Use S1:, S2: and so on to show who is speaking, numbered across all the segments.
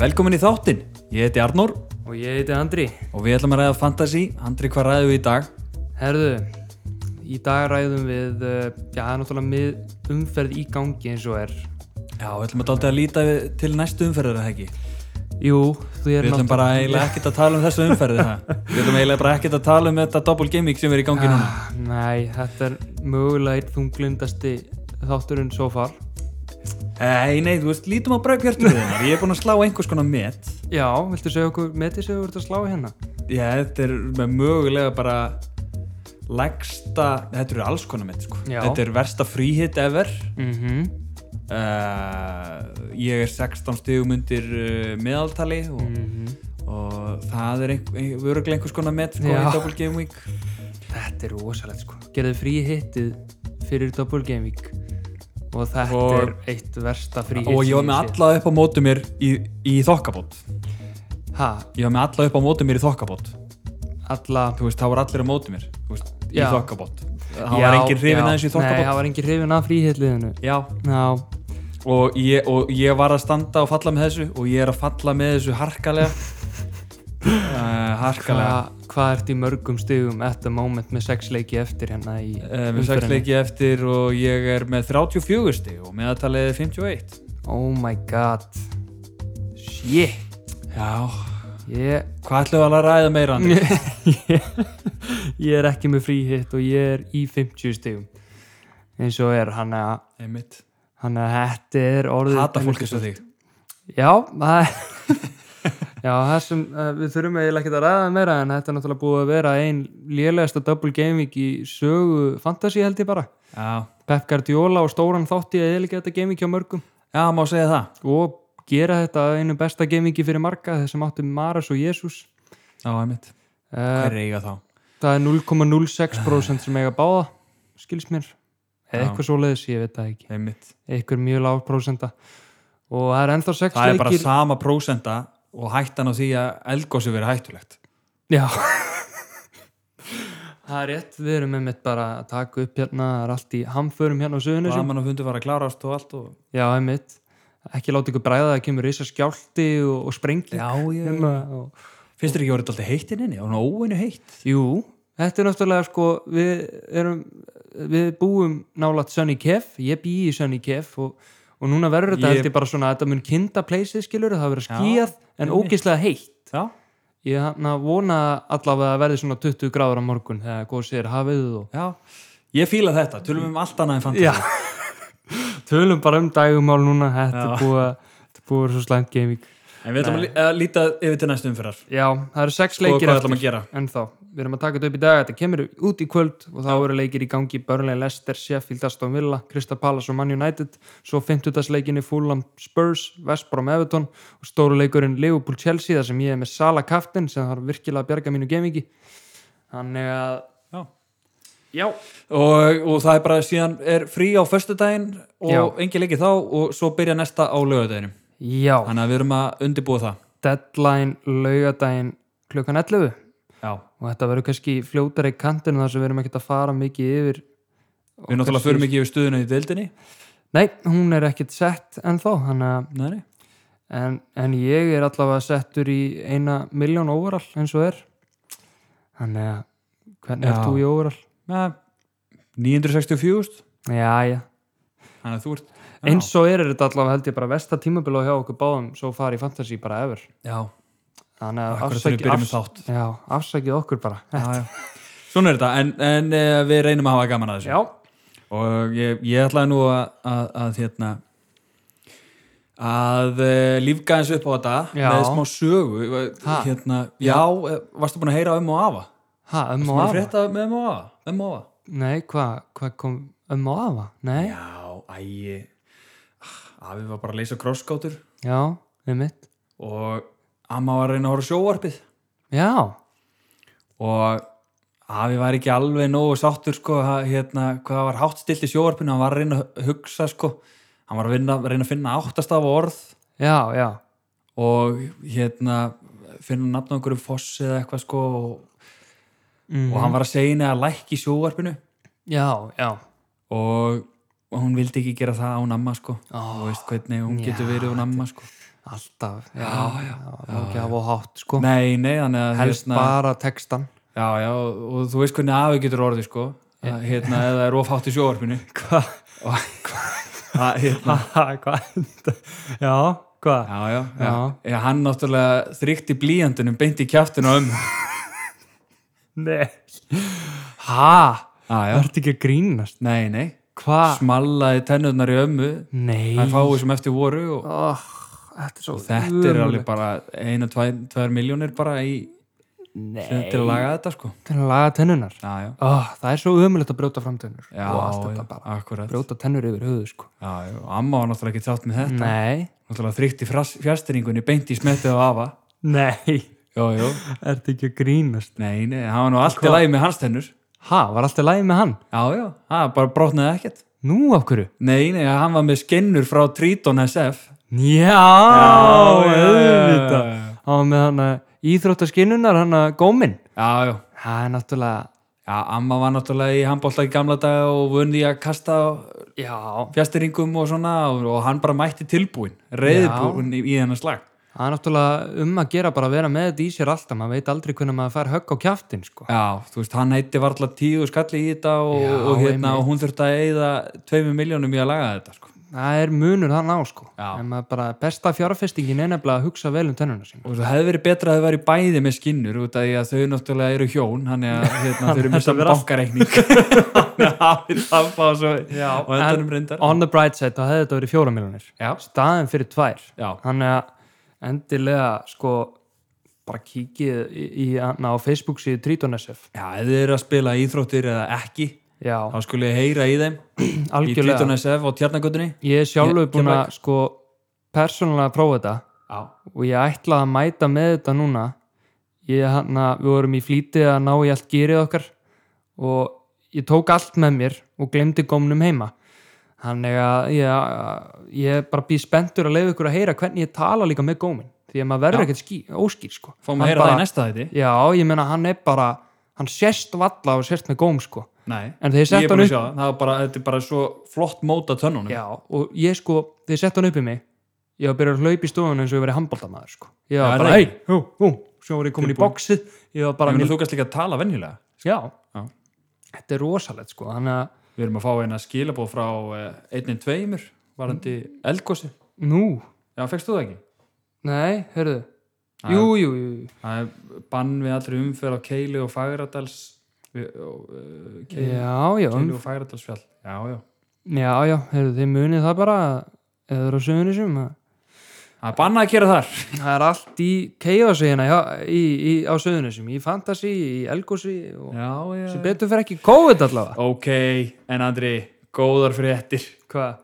S1: Velkomin í þáttinn, ég heiti Arnór
S2: Og ég heiti Andri.
S1: og við ætlum að ræða fantasy, Andri hvað ræðum við í dag?
S2: Herðu, í dag ræðum við, uh, já það er náttúrulega mið umferð í gangi eins og er.
S1: Já, við ætlum að dálta að líta við, til næstu umferðar eða ekki
S2: Jú, þú er
S1: Við ætlum bara eiginlega ekkert að tala um þessu umferði það Við ætlum eiginlega bara ekkert að tala um þetta double gaming sem er í gangi núna
S2: Ah, Nei, þetta er mögulega eitt þunglindasti þátturinn svo far.
S1: Nei, Eh, nei, þú veist, lítum á bræðbjartur þinnar Ég er búin að slá einhvers konar met
S2: Já, viltu segja okkur metið sem þú ert að slá í hérna?
S1: Já, þetta er með mögulega bara leggsta, þetta eru alls konar met sko.
S2: Já.
S1: Þetta er versta fríhit ever
S2: Mhm.
S1: uh, Ég er 16 stigum undir uh, meðaltali og og það er vöruglega einhvers konar met sko,
S2: Já.
S1: í Double Game Week
S2: Þetta er rosalegt sko. Gerðu frí hittið fyrir Double Game Week. Og þetta
S1: Og-
S2: er eitt versta frí hitt.
S1: og ég var með alla upp á mótu mér í, í þokkabót
S2: Ha,
S1: ég var með alla upp á mótu mér í þokkabót
S2: alla...
S1: þú veist, þá var allir á mótu mér þú veist, í
S2: Já.
S1: þokkabót það var engin hrifin aðeins í
S2: Nei, það
S1: þokkabót
S2: var engin hrifin að fríhitliðinu.
S1: já,
S2: Já,
S1: og ég, og ég var að standa og falla með þessu og ég er að falla með þessu harkalega uh, harkalega
S2: hvað, hvað ert í mörgum stigum at the moment með sex leiki eftir hérna í
S1: uh, við sex leiki eftir og ég er með 34 stig og meðaltalið er 51
S2: Oh my god Shit
S1: já,
S2: Ég,
S1: hvað ætlum við að ræða meira Andri?
S2: ég er ekki með frí hitt og ég er í 50 stigum eins og er hann að
S1: einmitt
S2: hann að þetta er orðið
S1: hata fólk eins og þig
S2: Já, það Já, það sem uh, við þurfum eiginlega ekki að ræða meira en þetta er náttúrulega búið að vera ein lélegasta double gaming í sögu fantasy held ég bara
S1: Já,
S2: Pep Guardiola og stóran þátti að eiginlega þetta gaming hjá mörgum
S1: já, má segja það
S2: og gera þetta að einu besta gamingi fyrir marga þeir sem áttu Maras og Jesus
S1: Já, einmitt,
S2: uh,
S1: hver eiga þá
S2: það er 0,06% sem eiga báða skils mér
S1: Já.
S2: eða eitthvað svoleiðis, ég veit það ekki
S1: Einmitt,
S2: eitthvað mjög lág prósenta og það er ennþá 6
S1: það er bara
S2: leikir
S1: sama prósenda og hættan á því að eldgósi verið hættulegt
S2: Já það er rétt, við erum með mitt bara að taka upp hérna, það er allt í hamförum hérna á söðunum
S1: Blaman og fundu var að klárast og allt og...
S2: Já, einmitt, ekki láta ykkur bræða það kemur risa skjálti og, og sprengi
S1: Já, ég
S2: hérna, og
S1: Finnst þér ekki orðið alltaf heittinn inni? Og óinu heitt
S2: Jú, þetta er náttúrulega sko við, erum, við búum nálaðt Sunny Kef, ég bý í Sunny Kef og, og núna verður þetta
S1: Ég-
S2: held ég bara svona að þetta mun kinda pleysið skilur það
S1: Já,
S2: verður skíjað en
S1: einmitt.
S2: ógeðslega heitt
S1: Já,
S2: ég hann að vona allavega að verði svona 20 gráður á morgun þegar góðs er hafið og
S1: já Ég fíla þetta, tölum um allt annað en fantast
S2: tölum bara um dagumál núna þetta
S1: Já.
S2: er búið að- þetta er búið að vera svo slæmt gaming
S1: En við ætlum að lí- að líta yfir til næstu umfyrar
S2: Já, það eru sex
S1: Og
S2: leikir
S1: hvað ætlum að gera?
S2: en þá, við erum að taka þetta upp í dag þetta kemur út í kvöld og þá eru leikir í gangi Burnley, Leicester, Sheffield, Aston Villa Crystal Palace og Man United svo 50. leikinni Fulham Spurs, West Brom Everton og stóru leikurinn Liverpool Chelsea þar sem ég er með Sala Kaftin sem þarf virkilega að bjarga mínu gemingi þannig að
S1: Já.
S2: já,
S1: og, og það er bara síðan er frí á föstudaginn og
S2: Já.
S1: engi leiki þá og svo byrja næsta á laugardaginu
S2: já.
S1: Þannig að við erum að undirbúa það
S2: deadline laugadaginn klukkan 11
S1: Já,
S2: og þetta verður kannski fljótar í kantinu þar sem við erum ekkert að fara mikið yfir
S1: við náttúrulega förum ekki yfir stuðuna í deildinni
S2: Nei, hún er ekkert sett ennþá, hann að
S1: Nei, nei
S2: en, en ég er allavega settur í eina miljón overall eins og er þannig að hvernig
S1: Já.
S2: ert þú í overall?
S1: Ja, 964
S2: Já, já,
S1: þannig að þú ert já,
S2: eins og er er þetta allavega held ég bara versta tímabila hjá okkur báðum svo fari í fantasy bara ever
S1: já,
S2: þannig að
S1: akkurat þegar við byrjum með þátt
S2: já, afsækið okkur bara
S1: já, já. svona er þetta en, en uh, við reynum að hafa gaman að þessu
S2: Já,
S1: og ég, ég ætlaði nú að, að, að hérna að uh, lífga eins upp á þetta
S2: Já.
S1: með smá sögu
S2: Ha?
S1: hérna, já, já, varstu búin að heyra um og afa
S2: ha, um og
S1: Búin að
S2: afa
S1: frétta með um og afa um og afa
S2: Nei, hvað hva kom um og afa? Nei,
S1: já, ægi afi var bara að leysa krosskátur
S2: já, við mitt
S1: og amma var að reyna að horfa á sjóvarpið
S2: Já,
S1: og afi var ekki alveg nógu sáttur sko, ha- hérna, hvað það var hátt stilt í sjóvarpinu hann var að reyna að hugsa sko. hann var að, vinna, reyna að finna áttastaf orð
S2: já, já
S1: og hérna finna nafn á einhverju fossi eða eitthvað sko, og,
S2: mm.
S1: og hann var að segja henni að lækki í sjóvarpinu
S2: Já, já
S1: og, og hún vildi ekki gera það án amma sko.
S2: Ó,
S1: og veist hvernig hún
S2: já,
S1: getur verið án amma sko.
S2: alltaf, já,
S1: Já,
S2: já, já ekki hafa of hátt, sko
S1: Nei, nei, þannig að
S2: helst
S1: hérna-
S2: bara textan
S1: Já, já, og og þú veist hvernig afi getur orðið sko að, hérna, ef það er ofhátt í sjóvarpinu
S2: hvað,
S1: að, hérna,
S2: hvað já, hvað
S1: Já, já, já.
S2: Já.
S1: já Hann náttúrulega þrykti blíjandunum beint í kjæftinu um
S2: nei, ha
S1: Já, já,
S2: það ert ekki að grínast
S1: nei, nei
S2: hvað,
S1: Smallaði tennurnar í ömmu
S2: nei
S1: Það fáið sem eftir voru og
S2: oh, þetta er svo
S1: þetta er alveg
S2: ömurlegt.
S1: bara eina, tvær, tvær miljónir bara í,
S2: nei,
S1: til að laga þetta sko
S2: til að laga tennunar
S1: Já, já,
S2: oh, það er svo umulegt að brjóta fram tennur
S1: já,
S2: og allt
S1: já,
S2: þetta bara,
S1: akkurat
S2: brjóta tennur yfir höfuð, sko
S1: Já, já, og amma var náttúrulega ekki þátt með þetta
S2: nei,
S1: Náttúrulega þrykti fjastringunni beint í smettið á afa
S2: nei
S1: Jó, jó,
S2: ert ekki að grínast
S1: nei, nei, það var nú allt í lagi með hans tennur
S2: ha, var alltaf lægið með hann
S1: Já, já, það bara brotnaði ekkert.
S2: nú af hverju
S1: Nei, nei, hann var með skinnur frá Triton SF. já,
S2: Já,
S1: já,
S2: auðvitað
S1: já, já.
S2: Hann var með hann að íþróttaskinnunar hann að góminn
S1: Já, já.
S2: Það er náttúrulega
S1: Já, amma var náttúrulega í handbólta í gamla daga og vunni að kasta á
S2: Já,
S1: fjastiringum og svona og, og hann bara mætti tilbúin, reyðbúin í, í hennar slag.
S2: það er náttúrulega um að gera bara að vera með þetta í sér alltaf maður veit aldrei hvernig maður fær högg á kjaftin sko.
S1: Já, þú veist, hann heiti varla tíu skalli í þetta og,
S2: Já,
S1: og, hérna,
S2: einmitt.
S1: og hún þurfti að eyða tveimur miljónum í að laga þetta, sko.
S2: Það er munur hann á sko.
S1: Já.
S2: en maður bara besta fjárfestingin er nefnilega að hugsa vel um tennuna sín
S1: Og það hefði verið betra að þau væri bæði með skinnur út af því að þau náttúrulega eru hjón, hann er að hérna, þau eru með saman
S2: verið allt-
S1: bankareikning. Það er það bara svo
S2: Já,
S1: á endanum reyndar.
S2: On the bright side þá hefði þetta verið fjóra miljonir
S1: Já.
S2: staðin fyrir tvær
S1: Já.
S2: þannig að endilega sko bara kíkið í, í, hérna, á Facebook síðu Triton SF
S1: Já, ef þið eru að spila íþróttir eða ekki,
S2: Já,
S1: þá skulle ég heyra í þeim í
S2: algjörlega
S1: Triton SF og Tjarnagötunni.
S2: Ég er
S1: Ég-
S2: sjálfur
S1: ég
S2: búin
S1: bara-
S2: að sko persónulega prófa þetta
S1: Já.
S2: og ég ætla að mæta með þetta núna ég hann að við vorum í flýti að ná í allt gýrið okkar og ég tók allt með mér og glemdi gómnum heima þannig að ég, ég er bara býð spenntur að leiða ykkur að heyra hvernig ég tala líka með gómin því að maður verður
S1: Já.
S2: ekkert ský, óskýr sko
S1: Fáum
S2: Hann
S1: að heyra það í
S2: bara,
S1: næsta þetta?
S2: Já, ég meina hann er bara hann sérst valla og sérst með góm sko
S1: Nei.
S2: en þegar
S1: Ég er
S2: ég sett hann
S1: búin að
S2: upp
S1: sjá það. Það er bara, þetta er bara svo flott móta tönnunum.
S2: Já, og ég sko, þegar ég sett hann upp í mig ég var að byrja að hlaupa í stofunum eins og ég verið handbóltamaður sko. ég
S1: Já,
S2: var bara,
S1: rey.
S2: hei, hú, hú svo var ég komin í
S1: Tilbúin.
S2: boxið ég var bara,
S1: Ég meina,
S2: mér,
S1: þú kannski líka að tala venjulega.
S2: já,
S1: Já.
S2: þetta er rosalegt sko, þannig að
S1: Við erum að fá eina skilabóð frá eh, einnig tveimur, varandi eldgósi.
S2: nú,
S1: Já, fegst þú það ekki?
S2: nei, hörðu
S1: Já.
S2: jú, jú, jú,
S1: Það er bann við allri umferð á Keili og Fagradals við, og, uh, Keili,
S2: já, já
S1: Keili og Fagradalsfjall Já, já,
S2: já, já, hörðu, þið munið það bara eða eru á sögunni sem
S1: það er bannað að gera þar
S2: það er allt í keiðasegina í, í, á sögunni sem, í fantasy, í elgósi og
S1: Já, já
S2: sem betur fyrir ekki COVID allavega
S1: Ok, en Andri, góðar fréttir
S2: hvað?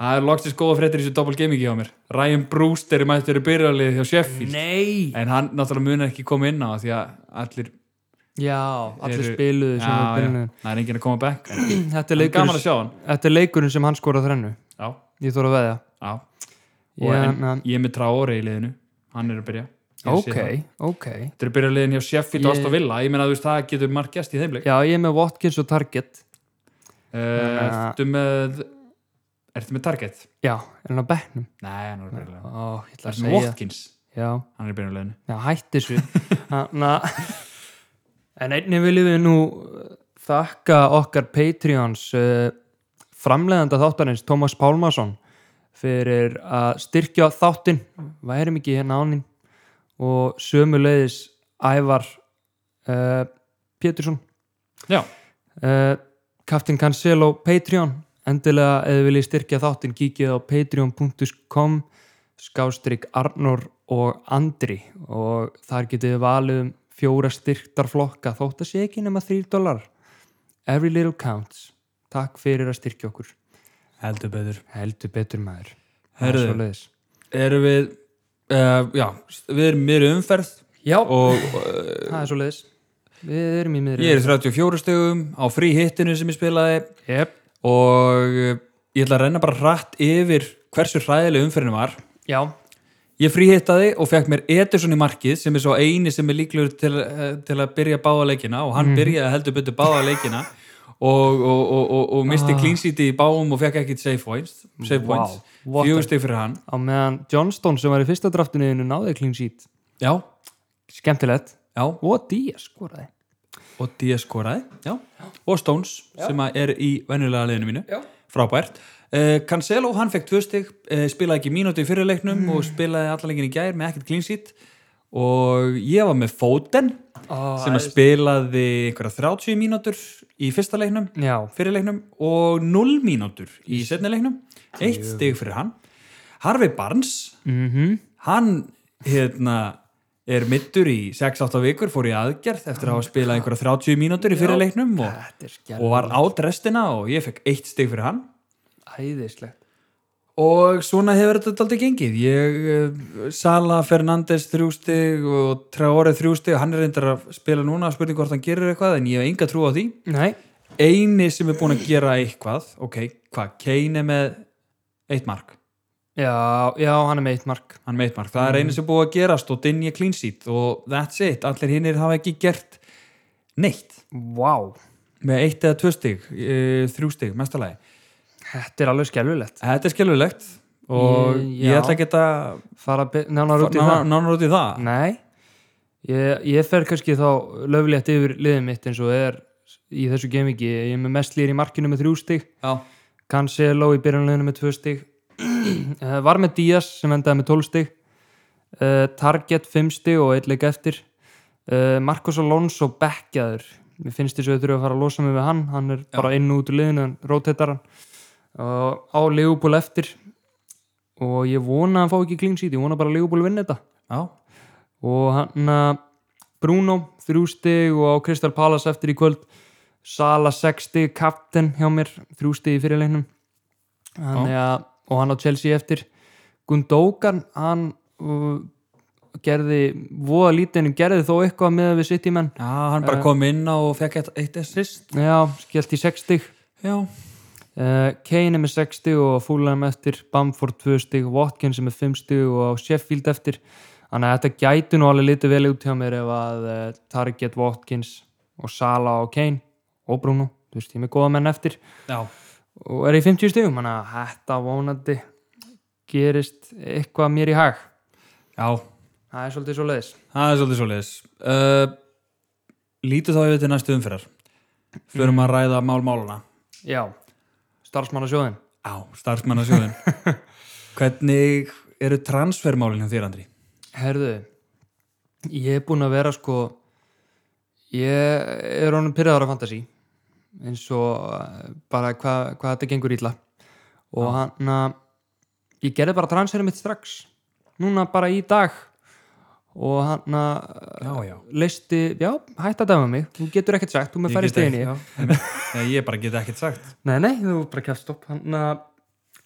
S1: Það er loksins góða fréttir í þessu double gaming hjá mér Ryan Brewster er mættur í byrjarlið hjá Sheffield
S2: Nei!
S1: En hann náttúrulega mun ekki koma inn á það því að allir
S2: Já, allir
S1: eru-
S2: spiluðu
S1: Já,
S2: sem við
S1: já,
S2: byrjuðum
S1: það er enginn að koma back En
S2: Þetta
S1: en gaman
S2: er leikurinn
S1: að sjá hann
S2: Þetta er leikurinn sem hann skorað þrennu
S1: Já,
S2: Ég þóra að veðja
S1: já Og
S2: Ég-
S1: en,
S2: hann-
S1: ég er með Traore í liðinu Hann er að byrja Ég sé
S2: Ok,
S1: það.
S2: ok
S1: Þetta er byrjarliðin hjá Sheffield
S2: Ég-
S1: og Aston Villa Ég meina þú veist það getur margt gæst í þeim leik
S2: Já, ég er með Watkins og Target
S1: uh, Ertu með Ertu með Target?
S2: Já, er hann á bekknum
S1: Nei, hann er byrjarliðin
S2: Ó, ég ætla að
S1: Ertu með
S2: segja
S1: Watkins?
S2: Já,
S1: Hann er byrjarliðin
S2: já hætti þessu Hanna En einnig viljum við nú uh, þakka okkar Patreons uh, framleiðanda þáttarins Tómas Pálmarsson fyrir að styrkja þáttinn væri mikið hérna ánin og sömuleiðis Ævar uh, Pétursson
S1: Já,
S2: uh, Captain Cancelo Patreon endilega eða viljið styrkja þáttinn kíkið á patreon.com skástrík Arnur og Andri og þar getið þið valið um fjóra styrktarflokka þótt að sé ekki nema 3 dólar every little counts takk fyrir að styrkja okkur
S1: heldur betur
S2: heldur betur maður Það er
S1: Herðu.
S2: svoleiðis.
S1: Erum við uh, Já, við erum mér umferð
S2: já,
S1: og uh,
S2: það er svo leiðis við erum í miðri
S1: ég er í 34 stegum á frí hittinu sem ég spilaði
S2: yep.
S1: og uh, ég ætla að renna bara hratt yfir hversu hræðileg umferðinu var
S2: já,
S1: Ég fríhittaði og fekk mér Ederson í markið sem er svo
S2: Mhm.
S1: eini sem er líklegur til, eh, til að byrja báða leikina og hann byrjaði heldur betur báða leikina og, og, og, og, og misti
S2: Ah.
S1: clean sheeti í báum og fekk ekkit save points, save
S2: Vá,
S1: points.
S2: what
S1: fjögur
S2: a-
S1: stig fyrir hann
S2: á meðan Johnston sem var í fyrsta draftinu þínu náði clean sheet
S1: já,
S2: skemmtilegt
S1: já,
S2: og Díaz skoraði
S1: og DS skoraði já. og Stones sem að er í venjulega liðinu mínu
S2: Já.
S1: frábært Uh, Cancelo, hann fekk tvö stig, uh, spilaði ekki mínúti í fyrirleiknum og
S2: Mm.
S1: spilaði allalegin í gær með ekkert clean sheet og ég var með Foden sem að spilaði einhverja 30 mínútur í fyrsta leiknum,
S2: já,
S1: fyrir leiknum og 0 mínútur í setni leiknum eitt stig fyrir hann Harvey Barnes hann hérna er middur í 6-8 vikur, fór í aðgerð eftir að hafa spilað einhverja 30 mínútur í fyrir leiknum og,
S2: þetta er
S1: og
S2: skemmtilegt
S1: var át restina og ég fekk eitt stig fyrir hann
S2: æðislegt
S1: og svona hefur þetta aldrei gengið ég, eh, Sala Fernandes þrjústig og Traore þrjústig hann er reyndar að spila núna spurning hvort hann gerir eitthvað en ég hef enga trú á því
S2: nei,
S1: eini sem er búin að gera eitthvað ok, hvað, Kane er með eitt mark,
S2: já, já, hann er með eitt mark
S1: hann er með eitt mark það er eini sem er búið að gerast og dinja clean sheet og that's it, allir hinnir hafa ekki gert neitt,
S2: wow,
S1: með eitt eða tvö stig uh, þrjú stig, mestalagi
S2: þetta er alveg skemmtilegt
S1: þetta er skilulegt og
S2: Mm,
S1: ég
S2: já.
S1: ætla ekki að
S2: fara be- nánar út í
S1: nánar
S2: það Mm.
S1: nánar út í það
S2: nei, ég, ég fer kannski þá löflétt yfir liðið mitt eins og er í þessu gemingi, ég er með mest lýr í markinu með þrjú stig
S1: já,
S2: Cancelo í byrjunleginu með 2 stig Eh, var með Díaz sem endaði með 12 stig Eh, Target 5 stig og eitt leik eftir Eh, Marcos Alonso bekkjaður mér finnst þess að við þurfum að fara að losa mig við hann hann er bara inn og út úr liðinu en rótetar hann og á Leopold eftir og ég vona að hann fá ekki clean sheet, ég vona bara að Leopold vinna þetta
S1: já,
S2: og hann að Bruno þrjú stig og á Crystal Palace eftir í kvöld Sala 6 stig, Captain hjá mér þrjú stig í fyrirleiknum hann að, og hann á Chelsea eftir Gundogan hann uh, gerði voða lítið en gerði þó eitthvað með við sitt í menn
S1: já, hann bara kom inn á og fekk eitt, eitt assist
S2: já, skellt í 6 stig
S1: já,
S2: Uh, Kane er með 6 stig og Fulham eftir Bamford 2 stig, Watkins er með 5 stig og á Sheffield eftir þannig að þetta gæti nú alveg litið vel út hjá mér ef að uh, Target, Watkins og Sala og Kane og Bruno, þú veist, ég er með góða menn eftir
S1: já,
S2: og er í 50 stigum, þannig að þetta vonandi gerist eitthvað mér í hag
S1: já
S2: það er svolítið svo leiðis
S1: Það er svolítið svoleiðis. Uh, lítu þá yfir til næstu umferðar. Förum að ræða mál-máluna.
S2: já, starfsmannasjóðin
S1: Á, starfsmannasjóðin. Hvernig eru transfermálin hjá þér, Andri?
S2: Herðu, ég er búinn að vera sko ég er honum pyrraðar á fantasi eins og eh, bara hvað hva þetta gengur illa og hann að ég gerði bara transferið mitt strax núna bara í dag og hann að
S1: Já, já.
S2: leisti, já, hætt að dæma mig þú getur ekkert sagt, þú með færi steginni
S1: Nei, ég bara get ekkert sagt.
S2: Nei, nei, þú bara kefst upp hann að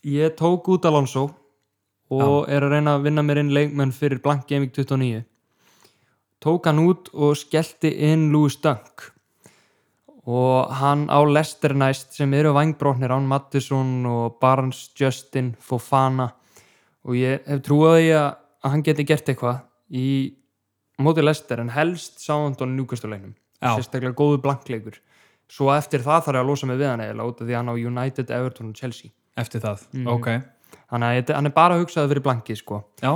S2: ég tók út Alonso og er að reyna að vinna mér inn leikmenn fyrir Blank Gaming 29 tók hann út og skellti inn Louis Dunk og hann á Lester næst sem eru vangbrotnir án Mattisson og Barnes, Justin, Fofana og ég hef trúið því að að hann geti gert eitthvað í móti Lester en helst Sándon Núkastulegnum
S1: Já.
S2: sérstaklega góðu blankleikur svo eftir það þarf ég að losa mig við hann eiginlega út af því að hann á United, Everton og Chelsea
S1: Eftir það. Ok.
S2: þannig að þetta- hann er bara að hugsaði fyrir blankið sko
S1: Já,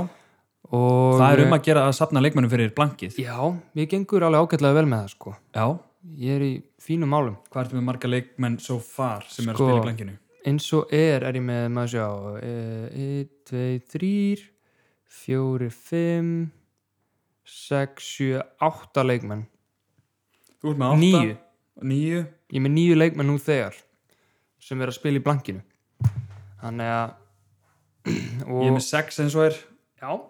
S2: og
S1: það er um að gera að sapna leikmennum fyrir blankið.
S2: já, mér gengur alveg ágætlega vel með það sko
S1: Já.
S2: ég er í fínum málum
S1: Hvað ertu með marga leikmenn so far sem eru
S2: Sko.
S1: að spila í blankinu?
S2: eins og er er ég með maður sjá e, 1, 2, 3 4, 5 6, 7, 8 leikmenn
S1: Þú ert með átta.
S2: Níu.
S1: Níu.
S2: ég er með nýju leikmenn nú þegar sem er að spila í blankinu þannig að og,
S1: Ég er með sex eins og er.
S2: já,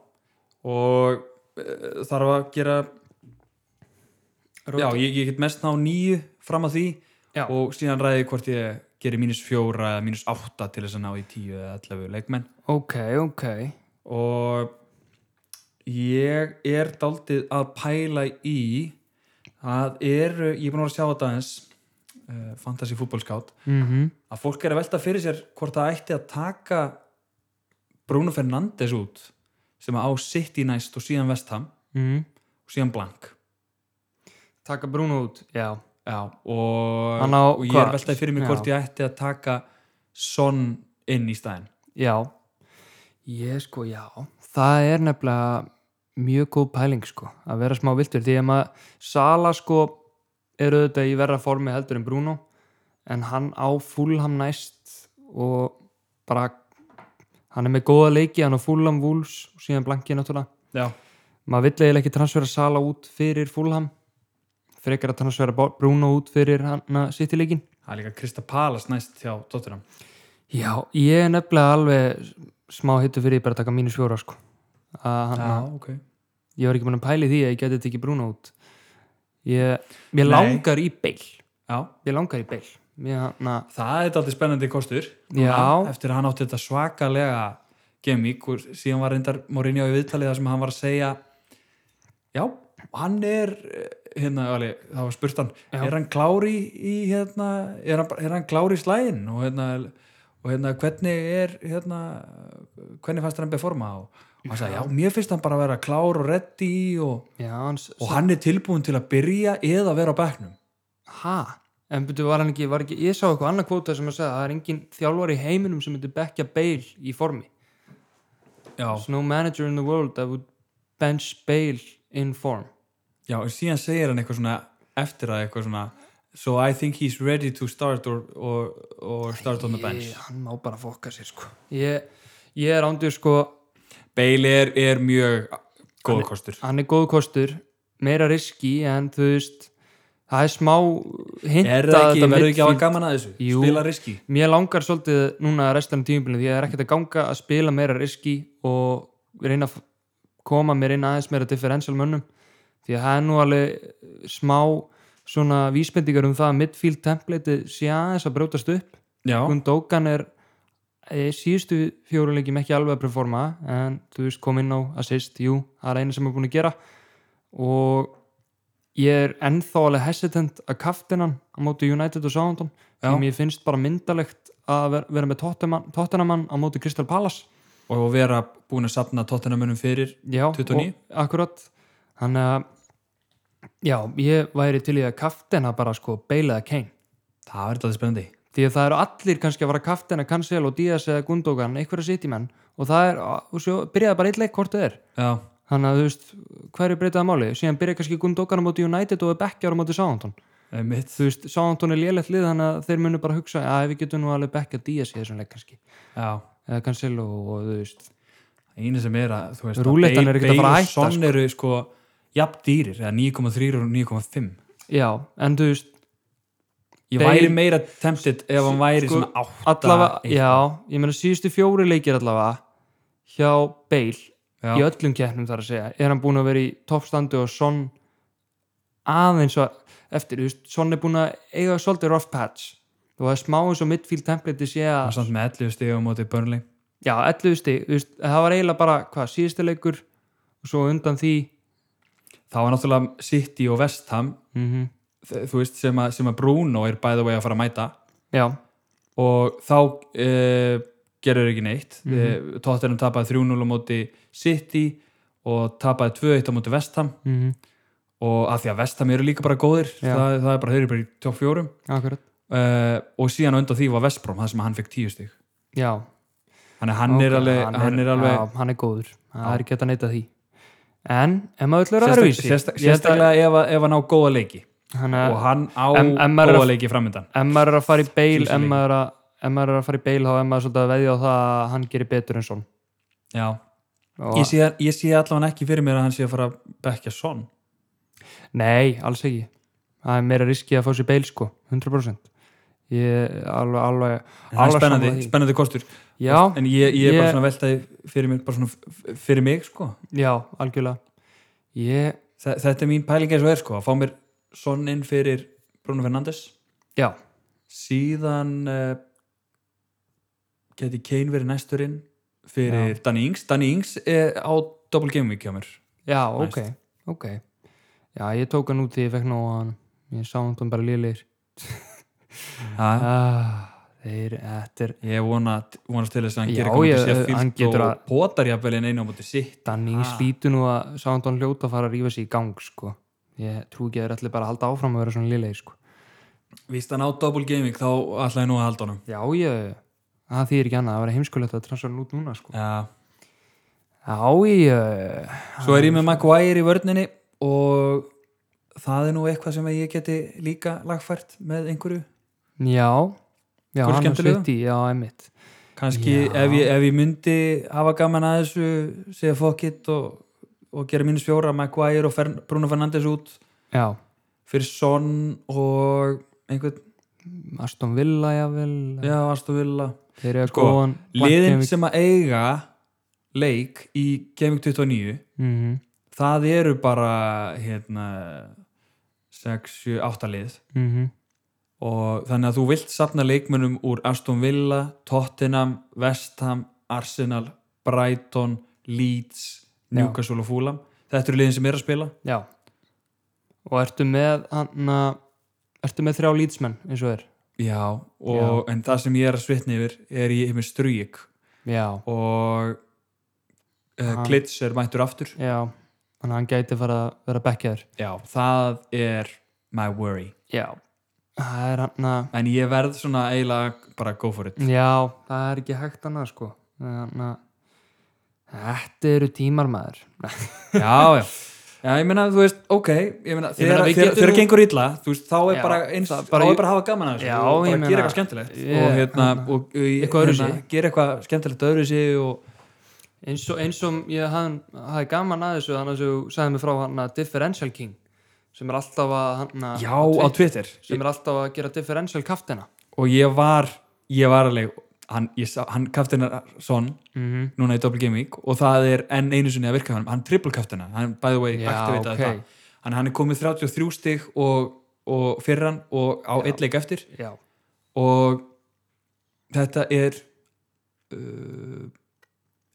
S1: Og uh, þarf að gera
S2: rót,
S1: Já, ég, ég get mest ná nýju fram að því
S2: Já.
S1: og síðan ræði ég hvort ég gerir mínus fjóra eða mínus átta til þess að ná í tíu eða allavegu leikmenn
S2: ok, ok
S1: og ég er daldið að pæla í að eru, ég er búin að vera að sjá þetta aðeins uh, fantasy fútbolskátt
S2: mm
S1: að fólk er að velta fyrir sér hvort það ætti að taka Bruno Fernandes út sem að á sitt í næst og síðan vestham
S2: mm
S1: og síðan blank
S2: taka Bruno út já, já,
S1: og,
S2: Hann á
S1: og ég er
S2: hvað?
S1: veltaði fyrir mig hvort ég ætti að taka Son inn í staðin
S2: já ég sko, já, það er nefnilega mjög góð pæling sko, að vera smá viltur, því að maður Sala sko, er auðvitað í verra formi heldur en Bruno en hann á Fulham næst og bara hann er með góða leiki, hann á Fulham Wolves og síðan Blanki náttúrulega
S1: já,
S2: maður vill eiginlega ekki transfera Sala út fyrir Fulham frekar að transfera Bo- Bruno út fyrir hann að sitt í leikin
S1: það er líka Krista Palas næst hjá Tottenham
S2: Já, ég er nefnilega alveg smá hittu fyrir því bara að taka mínus fjóra sko. að hann,
S1: ok
S2: ég var ekki búin að pæli því að ég geti þetta ekki brúna út ég, ég
S1: Nei.
S2: langar í beil
S1: já,
S2: ég langar í beil ég, na,
S1: það er alltaf spennandi kostur
S2: Já.
S1: Núna, eftir að hann átti þetta svakalega gemík og síðan var reyndar Mourinho í viðtalið þar sem hann var að segja já, hann er eh, hérna, alveg, það var spurt hann
S2: Já.
S1: er hann klári í hérna, er hann, er hann klári í slægin og hérna, og hérna hvernig er hérna, hvernig fannst hann beforma og, og hann sagði, já, mér finnst hann bara að vera klár og reddi og,
S2: já, hans,
S1: og hann er tilbúin til að byrja eða vera á bekknum
S2: ha, en betur var hann ekki, var ekki ég sá eitthvað annað kvóta sem að segja það er engin þjálfar í heiminum sem myndi bekja beil í formi
S1: já,
S2: There's no manager in the world that would bench Bale in form
S1: Já, en síðan segir hann eitthvað svona eftir að eitthvað svona So I think he's ready to start or, or, or start on the bench
S2: ég, hann má bara fokka sér sko ég, ég er ándur sko
S1: Bale er, er mjög góð kostur
S2: hann er góð kostur, meira riski en þú veist það er smá hint
S1: Er
S2: að
S1: það ekki,
S2: þetta
S1: verður ekki að hafa
S2: midfield-
S1: gaman að þessu?
S2: Jú.
S1: Spila riski
S2: mér langar svolítið núna restan tímubilinu því að það er ekkert að ganga að spila meira riski og reyna að f- koma mér inn aðeins meira differential mönnum því að það er nú alveg smá svona vísbendingar um það að midfield template sé aðeins að brjótast upp
S1: Já,
S2: Gundogan er eh, síðustu fjóruleikjum ekki alveg að performa en þú veist kom inn á assist jú, það er einu sem er búin að gera og ég er ennþá alveg hesitant að kaftinan á móti United og Southampton
S1: Já.
S2: því mér finnst bara myndalegt að ver- vera með Tottenham- Tottenhaman á móti Crystal Palace
S1: og vera búin að sapna tóttunamönum fyrir
S2: já,
S1: 29.
S2: og akkurat þannig að já, ég væri til í að kaftina bara sko beilaða Kane
S1: Það verður þetta spennandi
S2: því að það eru allir kannski að vara kaftina Cancel og Díaz eða Gundogan, einhverja sittimenn og það er, og svo byrjaði bara eitt leik hvort þau er,
S1: Já,
S2: þannig að þú veist hverju breytaði máli, síðan byrjaði kannski Gundogan á móti United og er bekkjar á móti Southampton
S1: mitt
S2: þú veist, Southampton er lélegt lið þannig að þeir munu bara hugsa, að við getum nú alveg bekkja Díaz í þessum leik kannski,
S1: Já,
S2: eða Cancel og, og þú veist,
S1: einu sem er að, þú veist
S2: Rúllettan er ekkert að fara að hætta,
S1: Son eru sko, jafn dýrir, eða 9,3 og 9,5
S2: já, en þú veist
S1: Ég
S2: Bale-
S1: væri meira tempted ef hann væri
S2: Sko,
S1: svona 8
S2: allavega, já, ég meina síðustu fjóri leikir allavega hjá Bale
S1: Já.
S2: í öllum keppnum þar að segja er hann búin að vera í toppstandu og Son aðeins og eftir, þú veist, Son er búin að eiga svolítið rough patch og það er smá eins og midfield template sé
S1: Það er
S2: að,
S1: samt með 11 stíð á móti Burnley
S2: já, 11 stig þú veist, það var eiginlega bara, hvað, síðustu leikur og svo undan því
S1: Það var náttúrulega City og West Ham
S2: mm
S1: þ- þú veist, sem, að, sem að Bruno er by the way að fara að mæta
S2: já,
S1: og þá e, gerur ekki neitt mm -hmm. e, Tottenham tapaði 3-0 á móti City og tapaði 2-1 á móti West Ham
S2: mm
S1: og að því að West Ham eru líka bara góðir
S2: Já.
S1: það, það er bara, þeir eru bara í top 4
S2: akkurat
S1: e, og síðan á undan því var West Brom það sem hann fekk 10 stík
S2: já,
S1: hann, hann,
S2: ok,
S1: er alveg, hann, er alveg
S2: já, hann er góður, það er ekki hægt að neita því en, ef maður öllur að
S1: sérstak,
S2: vera vísi
S1: sérstak, sérstaklega ef, að- ef hann á góða leiki og hann á
S2: En- en maður er að-
S1: góða leiki framöndan
S2: ef maður er að fara í beil
S1: Síðustu
S2: ef
S1: leikir.
S2: maður er að, ef maður er að fara í beil þá er maður svolítið að veðja á það að hann gerir betur en svon
S1: já
S2: og,
S1: Ég sé, ég sé allavega ekki fyrir mér að hann sé að fara að bekja son.
S2: nei, alls ekki það er meira riski að fá sér beil sko 100% ég er alveg, alveg,
S1: En það er
S2: alveg
S1: spennandi,
S2: sammála því.
S1: spennandi kostur.
S2: já,
S1: En ég, ég er bara
S2: Ég-
S1: svona veltaði fyrir mér, bara svona f- f- fyrir mig, sko.
S2: já, algjörlega ég,
S1: Þa, þetta er mín pæling eins og er, sko. Að fá mér son inn fyrir Bruno Fernandes.
S2: já,
S1: Síðan uh, geti Kane verið næsturinn fyrir Danny Ings. Danny Ings er á Double Game Week hjá mér.
S2: já, ok ok, já, ég tók hann út því ég fekk nóg á hann, ég sá hann bara lýlir
S1: Ha,
S2: ah, þeir, þetta er
S1: ég vona, vonast til þess að hann
S2: Já,
S1: gerir komið
S2: ég-
S1: til sér
S2: hann
S1: fyllt
S2: getur
S1: og
S2: að-
S1: potar jafnvel en einu á móti sitt.
S2: Danning ah. slítu nú að Soundon hljóta að fara að rífa sig í gang sko. ég trú ekki að þeir ætli bara að halda áfram að vera svona liðlega sko.
S1: Víst hann á double gaming þá ætla ég nú að halda honum
S2: Já, ég, það þýðir ekki annað það var heimskulegt að transfera hann út núna sko.
S1: Já.
S2: Já, ég
S1: Svo er ég með Maguire í vörninni og það er nú eitthvað sem ég geti líka lagfært með einhverju
S2: Já, já,
S1: Hvor er
S2: hann er
S1: skemmtilegur?
S2: svitti Já, emmitt
S1: kannski
S2: Já.
S1: ef ég, ef ég myndi hafa gaman að þessu segja fokkitt og, og gera mínus fjóra Maguire og Fern, Bruno Fernandes út
S2: Já,
S1: fyrir Son og einhvern,
S2: Aston Villa, jável
S1: já, Astuvilla
S2: Þeir eru
S1: Sko,
S2: góðan
S1: liðin sem að eiga leik í Gaming 29
S2: mm -hmm.
S1: það eru bara hérna 6, 7, 8 lið
S2: mhm.
S1: og þannig að þú vilt safna leikmönnum úr Aston Villa, Tottenham West Ham, Arsenal Brighton, Leeds
S2: Já.
S1: Newcastle og Fulham þetta eru liðin sem er að spila
S2: Já Og ertu með hann Ertu með þrjá lýtsmenn eins og er
S1: Já, og, en það sem ég er að svitna yfir er ég með Strujik
S2: Já,
S1: og uh,
S2: Hann-
S1: Klits er mættur aftur
S2: já Þannig að hann gæti fara að vera bekkjaður
S1: Já, það er my worry
S2: Já Það er hann að
S1: en ég verð svona eiginlega bara go for it
S2: Já, það er ekki hægt annað sko Þannig að Þetta eru tímar maður
S1: já, já Já, ég meina, þú veist, ok, ég meina,
S2: Ég meina,
S1: þegar
S2: við
S1: þegar-
S2: getum-
S1: þegar gengur illa, þú veist, þá er
S2: Já,
S1: bara eins,
S2: það
S1: þá
S2: bara-
S1: er bara að hafa gaman að þessu
S2: Já,
S1: og
S2: ég
S1: bara
S2: meina-
S1: gera eitthvað skemmtilegt
S2: Ég-
S1: og hérna, og hérna,
S2: Eitthvað öðruvísi.
S1: gera eitthvað skemmtilegt öðru sig og,
S2: eins og, eins og ég hafði gaman að þessu þannig að þú sagði mig frá hann að Differential King sem er alltaf að hann að
S1: já, á Twitter
S2: sem er alltaf að gera Differential kaftina
S1: og ég var, ég var alveg hann, ég sá, hann kaftina son
S2: mm -hmm.
S1: núna í Double Gaming og það er enn einu sinni að virka hann, hann triple kaftina hann by the way
S2: Já,
S1: aktivitaði
S2: ok.
S1: það hann, hann er komið 33 stig og, og fyrir hann og á eitt leik eftir
S2: Já,
S1: og þetta er uh,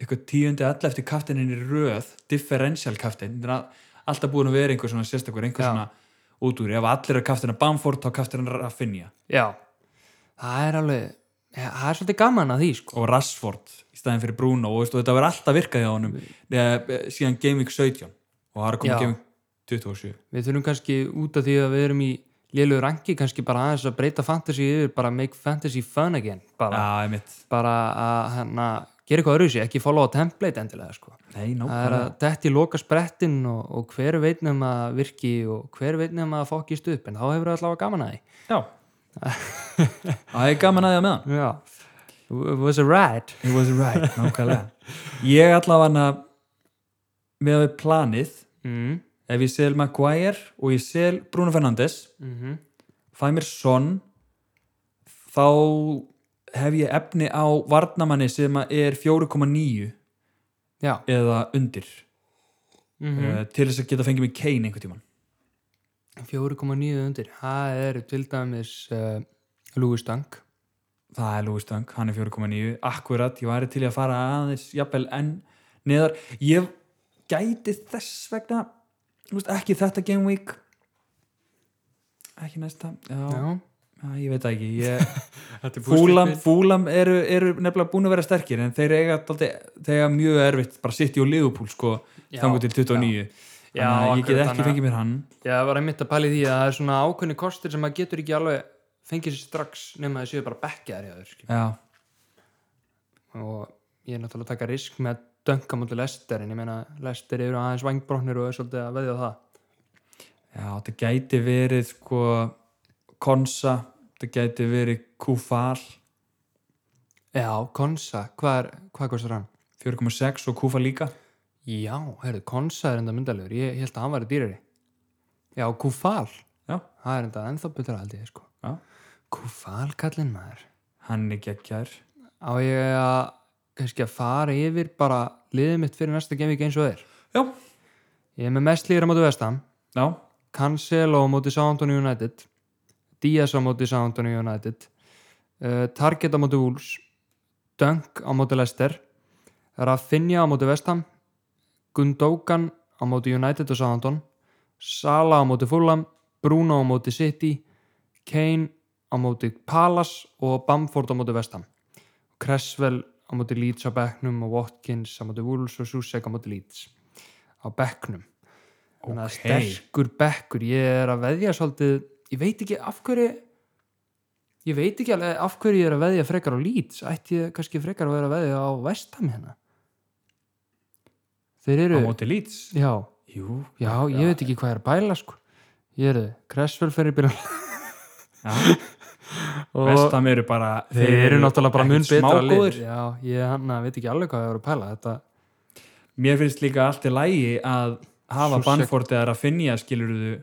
S1: eitthvað tíundi all eftir kaftininn í röð differential kaftin þetta er að- alltaf búin að vera einhver svona sérstakur einhver
S2: Já.
S1: svona út úr, ef allir er kaftina Bamford þá kaftina Rafinha
S2: já Það er alveg, ja, það er svolítið gaman að því sko
S1: og Rashford í staðin fyrir Bruno og, veist, og þetta verður alltaf virkaði á honum eh, síðan Gaming 17 og það er
S2: Mm. Já.
S1: komið Gaming 27
S2: Við þurfum kannski út af því að við erum í lélugu rangi kannski bara aðeins að breyta fantasy yfir bara make fantasy fun again bara,
S1: Já, ég mitt
S2: bara að hérna, gera eitthvað öðru sér, ekki followa template endilega sko
S1: Nei,
S2: það er að detti loka sprettin og, og hver veit nefn að virki og hver veit nefn að fokkist upp en þá hefur það allavega gaman að því
S1: Já Það er gaman að það með hann
S2: já, it was a ride
S1: It was right, nákvæmlega Ég allavega með að við planið
S2: mm.
S1: ef ég sel Maguire og ég sel Bruno Fernandes
S2: Mm
S1: fæ mér Son þá hef ég efni á varnamanni sem að er 4,9
S2: já,
S1: eða undir
S2: mm
S1: mm. til þess að geta fengið mig Kane einhvern tíman
S2: 4,9 undir það er til dæmis uh, Louis Dunk
S1: það er Louis Dunk, hann er 4,9 akkurat, ég væri til í að fara aðeins jafnvel enn neðar ég gæti þess vegna þú veist, ekki þetta game week ekki næsta já, já. ég veit það ekki ég, fúlam, fúlam eru, eru nefnilega búin að vera sterkir en þeir eiga, daldi, þeir eiga mjög erfitt bara sitt í og liðupúl sko
S2: Já,
S1: þangur til 29 þannig að
S2: Já,
S1: ég
S2: akkurat,
S1: get
S2: þannig
S1: ekki
S2: að-
S1: fengið mér hann
S2: já, það var einmitt að pæli því að það er svona ákveðni kostir sem maður getur ekki alveg fengið sér strax nema að það séu bara bekkjaðar hjá þér skilur.
S1: já,
S2: og ég er náttúrulega að taka risk með að dönka mútið Lester en ég meina Lester eru aðeins vangbróknir og er svolítið að veðja á það
S1: já, þetta gæti verið sko Konsa, þetta gæti verið Kufal
S2: Já, Konsa, hvað, er, hvað kostar hann?
S1: 4,6 og Kufa líka
S2: Já, heyrðu, Konsa er enda myndalegur ég held að hann væri dýrari Já, Kufal,
S1: Já,
S2: það er enda ennþá betra held ég sko
S1: já.
S2: Kufal kallinn maður
S1: hann er geggjær
S2: Á ég að kannski að fara yfir bara liðið mitt fyrir næsta gemvík eins og þeir
S1: Já,
S2: Ég er með mest líður á móti vestam
S1: já,
S2: Cancelo á móti Southampton United Diaz á móti Southampton United uh, Target á móti Wolves Dunk á móti Leicester Rafinha á móti Vestham Gundogan á móti United og Southampton Sala á móti Fulham Bruno á móti City Kane á móti Palace og Bamford á móti Vestham Cresswell á móti Leeds á Becknum og Watkins á móti Wolves og Susek á móti Leeds á Becknum Þannig að
S1: Ok.
S2: sterkur bekkur, ég er að veðja svolítið, ég veit ekki af hverju ég veit ekki alveg af hverju ég er að veðja frekar á Leeds ætti ég kannski frekar að vera að veðja á Vestam hérna þeir
S1: á
S2: eru
S1: móti lýts
S2: já,
S1: Jú,
S2: já, ég veit ekki hvað er að bæla sko ég er Cresswell fer í byrjun
S1: já,
S2: og
S1: vestam eru bara
S2: þeir eru náttúrulega bara mun
S1: ekkert
S2: betra
S1: smágóðir.
S2: lið já, ég hann veit ekki alveg hvað ég er að pæla þetta
S1: Mér finnst líka allt í lægi að hafa
S2: Svo sekt-
S1: Banford eða Raffinja skilurðu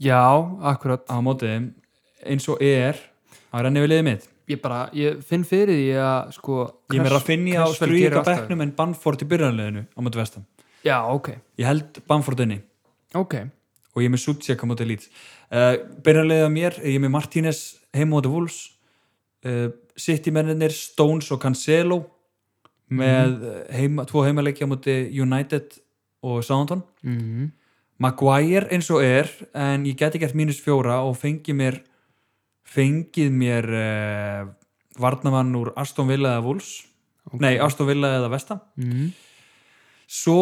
S2: já, akkurat
S1: á móti þeim eins og er að renni við liðið mitt
S2: ég bara, ég finn fyrir því að sko
S1: Ég er með
S2: Cress-
S1: Raffinja á
S2: Cresswell gerir
S1: strýka
S2: alltaf-
S1: bekknum en Banford í byrjanleginu á móti vestam
S2: já, ok,
S1: Ég held Banford inni
S2: ok
S1: og ég er með Subsiak á móti Leeds uh, beinarlega mér, er ég er með Martínez heim á móti Wolves uh, City mennir Stones og Cancelo með mm. heima, tvo heimaleiki á móti United og Southampton
S2: mm
S1: Maguire eins og er en ég geti gert mínus fjóra og fengið mér fengið mér uh, varnamann úr Aston Villa eða Wolves nei, Aston Villa eða Vestam
S2: Mm.
S1: Svo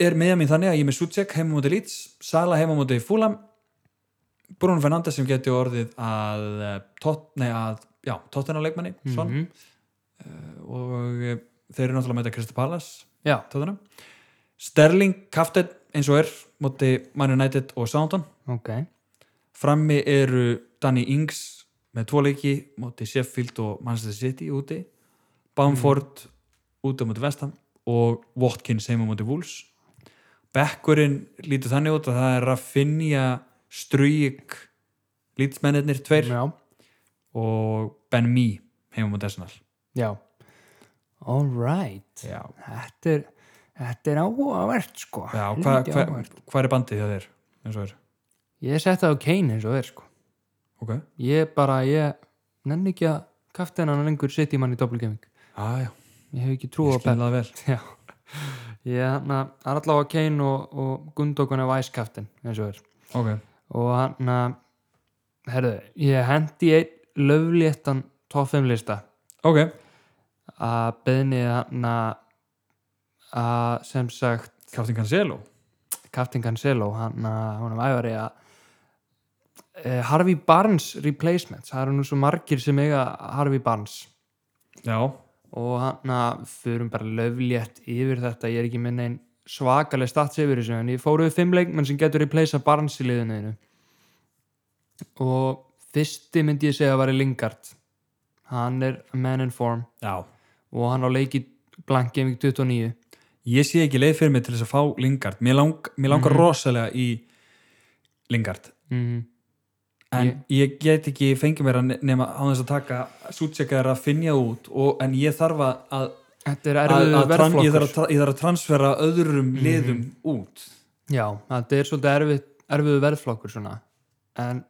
S1: er meða mín þannig að ég er með Sucek heima á móti Leeds, Sala heima á móti Fúlam, Bruno Fernandes sem geti orðið að eh, tot, nei, að, já, Tottenham leikmanni son,
S2: Mhm.
S1: og eh, þeir eru náttúrulega að mæta Crystal Palace
S2: já,
S1: Tottenham. Sterling, Kaftet eins og er, móti Man United og Southampton,
S2: ok
S1: frammi eru Danny Ings með tvo leiki móti Sheffield og Manchester City úti Bamford úti á móti Vestham og Watkins heima á móti Wolves Bekkurinn lítur þannig út að það er Raffinja, Struyik lítismennirnir tveir
S2: já,
S1: og Ben Mee heima á móti Arsenal
S2: já all right
S1: Já,
S2: þetta er, þetta er áhugavert sko
S1: Já hvað
S2: Helviti
S1: hva,
S2: áhugavert.
S1: hva er bandið hjá þér? eins og er
S2: ég setja það á Kane eins og er sko
S1: Ok,
S2: ég bara, ég nenni ekki að kaftinan lengur setja í mann í doppelgeming
S1: ah, já,
S2: ég hef ekki trú
S1: ég
S2: á
S1: skil það vel
S2: Já, ég hann að allavega Kane og, og Gundokun er væskaftin eins og er
S1: Ok,
S2: og hann að herðu, ég hendi í einn löfléttan toffumlista
S1: ok,
S2: að beðni hann að að sem sagt
S1: Captain Cancelo
S2: Captain Cancelo hann að hún er æfari að eh, Harvey Barnes replacements, það eru nú svo margir sem eiga Harvey Barnes
S1: Já,
S2: og hann að förum bara löflétt yfir þetta, ég er ekki minn einn svakaleg stats yfir þessu en ég fóru við fimm leikmenn sem getur replacea Barnes í liðinu þínu. og fyrsti myndi ég segja að veri Lingard hann er a man in form
S1: já
S2: og hann á leiki Blank Gaming 29
S1: ég sé ekki leið fyrir mig til þess að fá Lingard mér, lang, mér langar
S2: Mhm.
S1: rosalega í Lingard
S2: mm,
S1: en ég get ekki fengið mér að ne- nema á þess að taka sútsekar að finja út og, en ég þarf að, að,
S2: þetta er
S1: að,
S2: erfiður
S1: að tran, ég, þarf
S2: verðflokkur Mhm.
S1: að tra- ég þarf að transfera öðrum liðum út
S2: já, þetta er svolítið erfið, erfiður verðflokkur svona en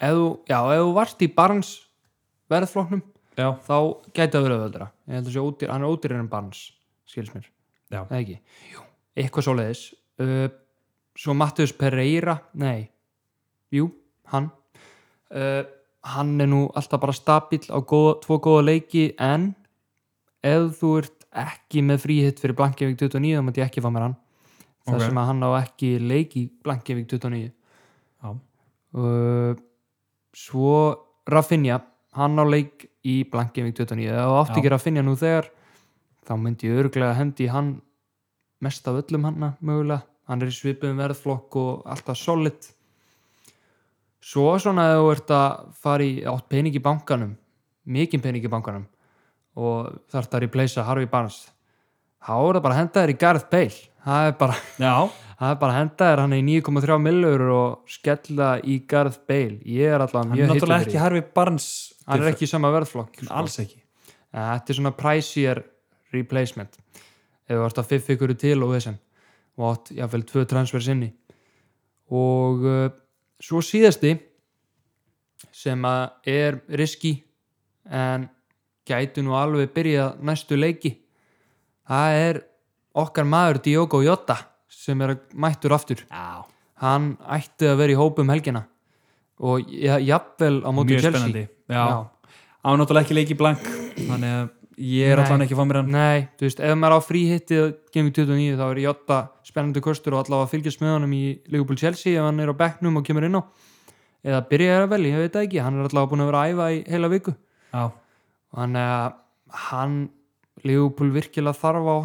S2: ef þú, já, ef þú varst í Barnes verðflokknum
S1: já,
S2: þá gæti að vera öðvöldra ég held að sé ódýr, hann er ódýr en barns skils mér,
S1: Já.
S2: eða ekki Jú. eitthvað svoleiðis uh, svo Mattius Pereira, nei jú, hann uh, hann er nú alltaf bara stabill á góða, tvo góða leiki en ef þú ert ekki með fríhitt fyrir Blankjavík 29 þá mætti ég ekki fá mér hann þar
S1: Ok.
S2: sem að hann á ekki leiki Blankjavík 29
S1: já,
S2: uh, svo Rafinha, hann á leik í Blankeving 29, ef þú átt
S1: Já.
S2: ekki Rafinha nú þegar, þá myndi ég örglega hendi í hann mest af öllum hanna mögulega, hann er í svipuðum verðflokk og alltaf solid svo svona ef þú ert að fara í átt pening í bankanum mikinn pening í bankanum og þarf að replacea Harvey Barnes þá er það bara að henda þér í Gareth Bale það er bara
S1: já,
S2: Það er bara að henda þér hann í 9,3 millur og skella í Gareth Bale. Ég er allavega
S1: hann er
S2: mjög hittur
S1: náttúrulega
S2: fyrir.
S1: ekki
S2: því.
S1: Harfi Barnes
S2: Hann er
S1: tilfell-
S2: ekki í sama verðflokk. sko.
S1: alls ekki
S2: En Þetta er svona pricier replacement. Ef þú ert að fiff ykkur til og þessum. Og átt, jáfnvel, tvö transfer sinni. Og uh, svo síðasti sem að er riski en gætu nú alveg byrja næstu leiki. Það er okkar maður Diogo Jota sem er að mættur aftur
S1: já,
S2: hann ætti að vera í hópum helgina og ja- jafnvel á móti
S1: mjög
S2: Chelsea
S1: spennandi já, hann er náttúrulega ekki leik í blank þannig að ég er
S2: Nei.
S1: allan ekki að fá mér hann
S2: Nei, þú veist, ef maður á fríhitti Gaming 29 þá er Jota spennandi kostur og allavega fylgjast með honum í Liverpool Chelsea ef hann er á bekknum og kemur inn á eða byrjaði að velja, ég veit það ekki hann er allavega búin að vera að æfa í heila viku
S1: já,
S2: þannig að hann Leopold virkilega þarf á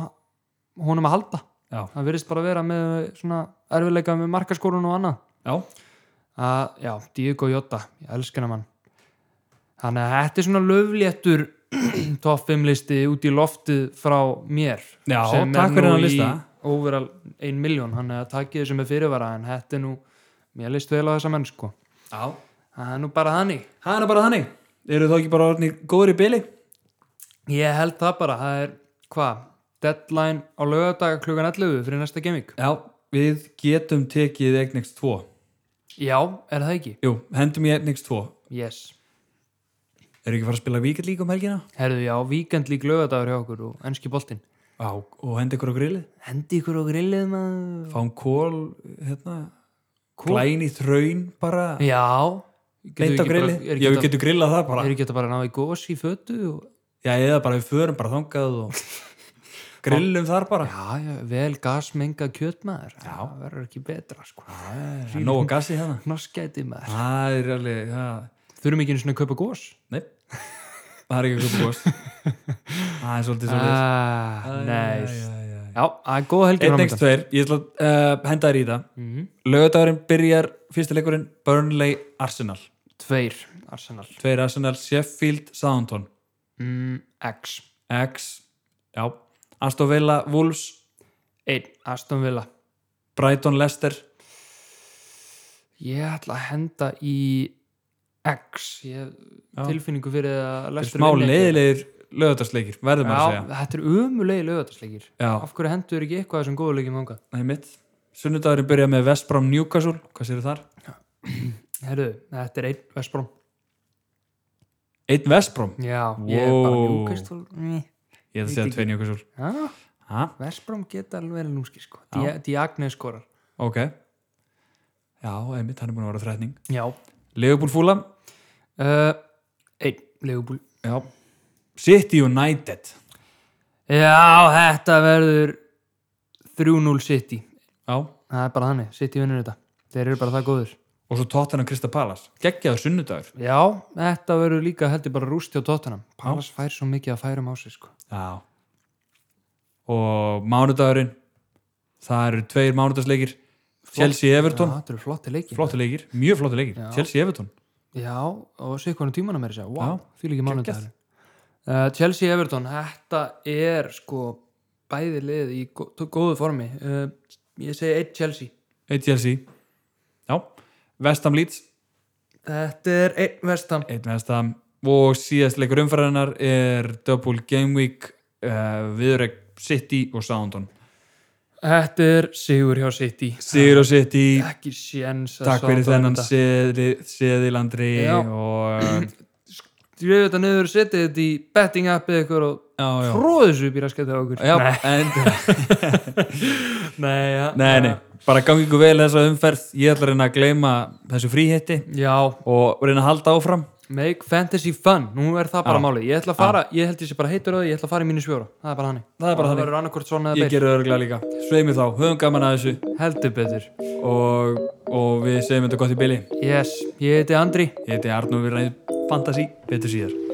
S2: honum að halda
S1: já,
S2: hann virðist bara að vera með svona erfiðleika með markaskorun og annað
S1: já,
S2: að, já, Diego Jota, ég elska hann mann þannig að þetta er svona löfléttur top 5 listi út í loftið frá mér
S1: Já, takk fyrir þennan lista.
S2: overall 1 miljón, hann er að takki þessu með fyrirvara en þetta er nú, mér list vel á þessa menn sko,
S1: já
S2: það er nú bara þannig
S1: Það er bara þannig, eru þá ekki bara orðnir góður í byli?
S2: ég held það bara, það er hvað, deadline á lögadag klukkan 11 fyrir næsta gemik
S1: Já, við getum tekið Egnex 2
S2: já, er það ekki?
S1: Jú, hendum í Egnex 2
S2: yes,
S1: Eru ekki fara að spila víkert líka um helgina?
S2: herðu já, víkend lík lögadagur hjá okkur og ennski boltinn
S1: Já, og hendi ykkur á grillið
S2: hendi ykkur á grillið maður
S1: Fáum kól, hérna Glæn í þraun bara
S2: Já
S1: Beint á grillið, já við getum grillað það bara
S2: Eru ekki að bara náðu í gós í fötu og...
S1: Já, eða bara við förum bara þangað og grillum þar bara
S2: Já, já, vel gasmenga kjötmaður Já Það verður ekki betra sko
S1: Það er Nóg að gassi hérna
S2: Norskæti maður
S1: Það er alveg, það
S2: Þurfum ekki einu svona að kaupa gós
S1: Nei, það er ekki eitthvað búast Það er svolítið svolítið
S2: ah, Næs
S1: Já, já, já
S2: Já, það er góð helgi
S1: Einn ekst tveir, ég ætla að uh, henda þér í það mm
S2: Mhm.
S1: Laugardagurinn byrjar fyrsti leikurinn Burnley Arsenal
S2: Tveir, Arsenal
S1: Tveir Arsenal, Sheffield, Southampton
S2: mm, X
S1: X, já Aston Villa, Wolves,
S2: Einn, Aston Villa
S1: Brighton, Leicester
S2: Ég ætla að henda í X
S1: Já.
S2: Ég hef tilfinningu fyrir að Leicester
S1: Smá
S2: vinni ekki.
S1: leiðilegir laugardagsleikir, verður maður að
S2: Já,
S1: segja
S2: þetta er umulegi lögatarsleikir
S1: Já,
S2: Af hverju hendur ekki eitthvað þessum góðu leikjum ánga?
S1: það er mitt Sunnudagurinn byrjar með West Brom, Newcastle Hvað séu þar?
S2: Herru, þetta er einn Vestbróm
S1: Einn West Brom,
S2: Já, ég er bara
S1: Wow.
S2: Newcastle Ný.
S1: ég ætla að
S2: Veit
S1: segja
S2: ekki.
S1: tvei Newcastle
S2: Já,
S1: Ha,
S2: Vestbróm geta alveg verið lúmski sko Di- Diagne skorar
S1: ok Já, einmitt, hann er búin að vera þrætning
S2: Já
S1: Leifbúl Fúlam,
S2: uh, Einn, Leifubúl
S1: já City United
S2: Já, þetta verður 3-0 City
S1: Já,
S2: Það er bara þannig, City vinnur þetta Þeir eru bara það góður
S1: og svo Tottenham Krista Palace geggjaður sunnudagur
S2: Já, þetta verður líka heldur bara rúst hjá Tottenham Pallas fær svo mikið að færum á sig sko
S1: já. og mánudagurinn það eru tveir mánudagsleikir Chelsea Everton,
S2: Já, þetta eru flotti leikir
S1: flotti leikir mjög flotti leikir, Chelsea Everton
S2: Já, og sé hvernig tímanum er þessi wow,
S1: Já,
S2: Fýl ekki mánudagur uh, Chelsea Everton, þetta er sko bæði lið í gó- góðu formi uh, Ég segi eitt Chelsea
S1: eitt Chelsea já, Vestam Leeds
S2: Þetta er einn vestam
S1: eitt Vestam og síðast leikur umfærarinnar er Double Game Week uh, viðreg City og Soundon
S2: Þetta er Sigur hjá City
S1: Sigur og City,
S2: Ekki séns að
S1: Ah. takk fyrir
S2: Southampton
S1: þennan
S2: þetta.
S1: seðil- seðilandri
S2: Já.
S1: og eh,
S2: Skrifu þetta niður, setið þetta í betting appið ykkur og
S1: já, já,
S2: tróðu þessu upp í raskættu á okkur
S1: já
S2: Nei,
S1: en
S2: nei, ja,
S1: Nei, nei, bara gangi ykkur vel þessa umferð ég ætla að reyna að gleyma þessu fríhetti
S2: Já,
S1: og reyna að halda áfram
S2: make fantasy fun Nú er það bara
S1: Já.
S2: málið Ég ætla að fara, ég held ég sé bara heitur á því Ég ætla að fara í mínu svjóra, það er bara hannig
S1: Það er bara
S2: Það
S1: þannig,
S2: verður annarkvort svona
S1: ég
S2: eða beir
S1: gerði örglega líka sveimi þá, höfum gaman að þessu
S2: Heldur betur
S1: og, og við segjum þetta gott í byli
S2: Yes, ég heiti Andri
S1: Ég heiti Arnur, við reyðum fantasi betur síðar